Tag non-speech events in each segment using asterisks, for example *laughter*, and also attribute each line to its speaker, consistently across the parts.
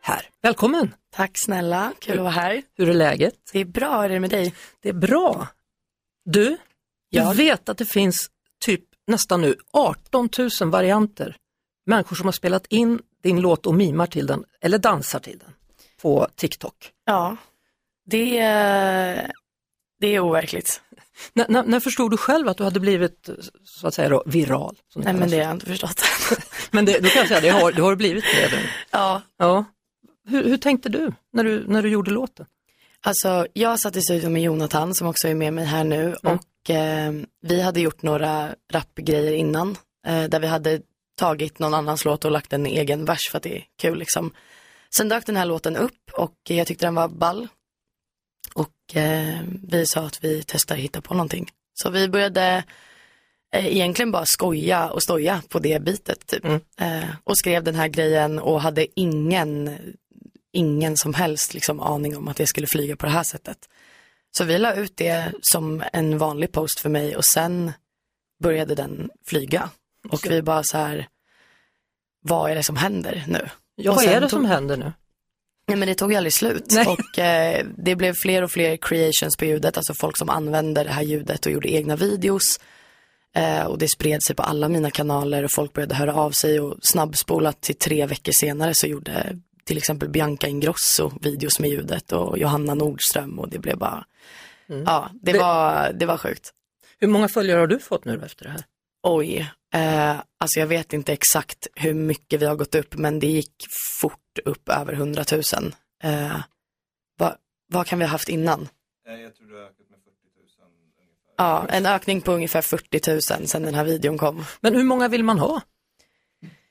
Speaker 1: här, välkommen!
Speaker 2: Tack snälla, kul att vara här.
Speaker 1: Hur är läget?
Speaker 2: Det är bra, hur är det med dig?
Speaker 1: Det är bra. Du, jag
Speaker 2: Ja.
Speaker 1: vet att det finns typ nästan nu 18 000 varianter. Människor som har spelat in din låt och mimar till den eller dansar till den på TikTok.
Speaker 2: Ja, det är, det är overkligt.
Speaker 1: När, när, när förstod du själv att du hade blivit så att säga då, viral? Som
Speaker 2: Nej
Speaker 1: kallas.
Speaker 2: men det har jag inte förstått.
Speaker 1: men det, då kan jag säga, det har, det har blivit det nu.
Speaker 2: *laughs* ja,
Speaker 1: Ja. Hur, hur tänkte du när, du när du gjorde låten?
Speaker 2: alltså jag satt i studion med Jonathan som också är med mig här nu
Speaker 1: Mm.
Speaker 2: och eh, vi hade gjort några rapgrejer innan eh, där vi hade tagit någon annans låt och lagt en egen vers för att det är kul liksom. Sen dök den här låten upp och jag tyckte den var ball. Och eh, vi sa att vi testar hitta på någonting. Så vi började eh, egentligen bara skoja och stoja på det bitet typ.
Speaker 1: Mm.
Speaker 2: Eh, och skrev den här grejen och hade ingen, ingen som helst liksom, aning om att det skulle flyga på det här sättet. Så vi la ut det som en vanlig post för mig och sen började den flyga. Och vi bara så här, vad är det som händer nu?
Speaker 1: Ja,
Speaker 2: Och
Speaker 1: vad
Speaker 2: sen
Speaker 1: är det
Speaker 2: tog-
Speaker 1: som händer nu?
Speaker 2: Nej men det tog ju aldrig slut
Speaker 1: Nej.
Speaker 2: och eh, det blev fler och fler creations på ljudet, alltså folk som använde det här ljudet och gjorde egna videos. Eh, och det spred sig på alla mina kanaler och folk började höra av sig och snabbspolat till tre veckor senare så gjorde till exempel Bianca Ingrosso videos med ljudet och Johanna Nordström och det blev bara, ja det,
Speaker 1: Det-
Speaker 2: Var, det var sjukt.
Speaker 1: Hur många följare har du fått nu efter det här?
Speaker 2: Oj, eh, alltså jag vet inte exakt hur mycket vi har gått upp men det gick fort upp över 100 000. Eh, vad, vad kan vi ha haft innan? Ja, en ökning på ungefär 40 000 sedan den här videon kom.
Speaker 1: Men hur många vill man ha?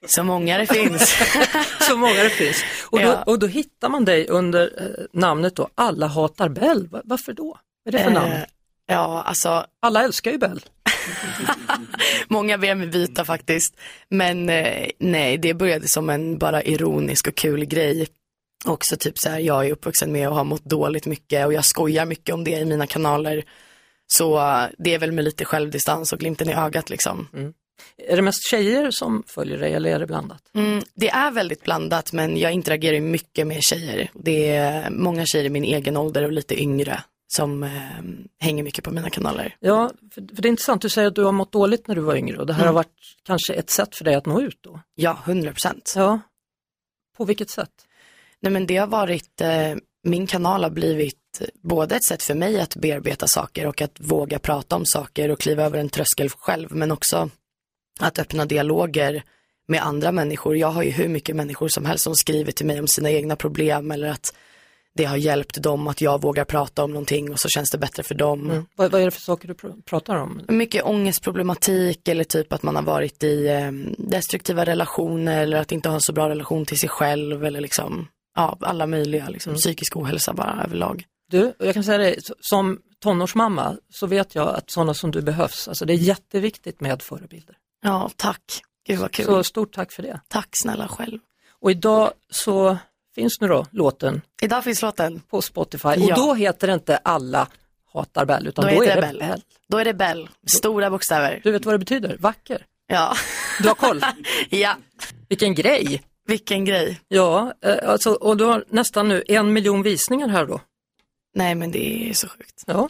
Speaker 2: Så många det finns. *laughs*
Speaker 1: Så många det finns. Och då,
Speaker 2: Ja.
Speaker 1: och då hittar man dig under eh, namnet då Alla hatar Bell. Va- Varför då? Vad är det för
Speaker 2: Eh,
Speaker 1: namn?
Speaker 2: ja, alltså
Speaker 1: Alla älskar ju Bell.
Speaker 2: många ber mig byta faktiskt. Men eh, nej, det började som en bara ironisk och kul grej. Också typ så här, jag är uppvuxen med och har mått dåligt mycket och jag skojar mycket om det i mina kanaler. Så eh, det är väl med lite självdistans och glimten i ögat liksom.
Speaker 1: Är det mest tjejer som följer dig eller är det blandat?
Speaker 2: Mm, det är väldigt blandat men jag interagerar ju mycket med tjejer. Det är många tjejer i min egen ålder och lite yngre som eh, hänger mycket på mina kanaler.
Speaker 1: Ja, för, för det är intressant, du säger att du har mått dåligt när du var yngre och det här
Speaker 2: Mm.
Speaker 1: har varit kanske ett sätt för dig att nå ut då?
Speaker 2: Ja, 100 procent.
Speaker 1: Ja. På vilket sätt?
Speaker 2: Nej men det har varit, eh, min kanal har blivit både ett sätt för mig att bearbeta saker och att våga prata om saker och kliva över en tröskel själv men också att öppna dialoger med andra människor. Jag har ju hur mycket människor som helst som skriver till mig om sina egna problem eller att det har hjälpt dem att jag vågar prata om någonting och så känns det bättre för dem.
Speaker 1: Vad, vad är det för saker du pr- pratar om?
Speaker 2: Mycket ångestproblematik eller typ att man har varit i eh, destruktiva relationer eller att inte ha en så bra relation till sig själv eller liksom, ja, alla möjliga liksom, psykisk ohälsa bara överlag.
Speaker 1: Du, och jag kan säga det, s- som tonårsmamma så vet jag att sådana som du behövs. Alltså det är jätteviktigt med förebilder.
Speaker 2: Ja, tack. Gud vad kul.
Speaker 1: Så stort tack för det.
Speaker 2: Tack snälla själv.
Speaker 1: Och idag så finns nu då låten
Speaker 2: Idag finns låten.
Speaker 1: på Spotify och
Speaker 2: Ja.
Speaker 1: då heter det inte alla hatar Bell utan
Speaker 2: Då
Speaker 1: då,
Speaker 2: heter
Speaker 1: är det
Speaker 2: det
Speaker 1: Bell.
Speaker 2: Bell. Då är det Bell, stora bokstäver.
Speaker 1: Du vet vad det betyder? Vacker.
Speaker 2: Ja, *laughs*
Speaker 1: Du har koll.
Speaker 2: ja.
Speaker 1: Vilken grej.
Speaker 2: vilken grej.
Speaker 1: Ja, eh, alltså, och du har nästan nu en miljon visningar här då.
Speaker 2: Nej men det är så sjukt.
Speaker 1: Ja.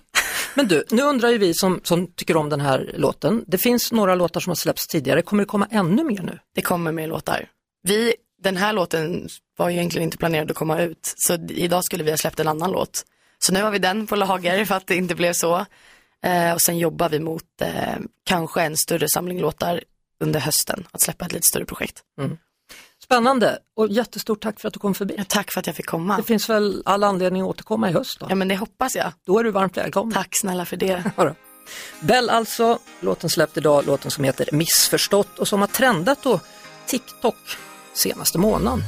Speaker 1: Men du, nu undrar ju vi som, som tycker om den här låten. Det finns några låtar som har släppts tidigare. Kommer det komma ännu mer nu?
Speaker 2: Det kommer mer låtar. Vi, den här låten var ju egentligen inte planerad att komma ut, så d- idag skulle vi ha släppt en annan låt. Så nu har vi den på lager för att det inte blev så. Eh, och sen jobbar vi mot eh, kanske en större samling låtar under hösten, att släppa ett lite större projekt.
Speaker 1: Spännande och jättestort tack för att du kom förbi.
Speaker 2: Ja, tack för att jag fick
Speaker 1: Det
Speaker 2: komma.
Speaker 1: finns väl all anledning att återkomma i höst då.
Speaker 2: Ja men det hoppas jag.
Speaker 1: Då är du varmt välkommen.
Speaker 2: Tack snälla för det.
Speaker 1: Ja då. Bell alltså, låten släppt idag, låten som heter Missförstått och som har trendat då TikTok senaste månaden.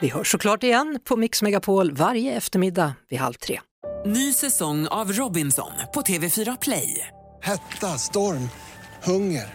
Speaker 1: Vi hörs såklart igen på Mix Megapol varje eftermiddag vid halv tre.
Speaker 3: Ny säsong av Robinson på TV4 Play.
Speaker 4: Hetta, storm, hunger.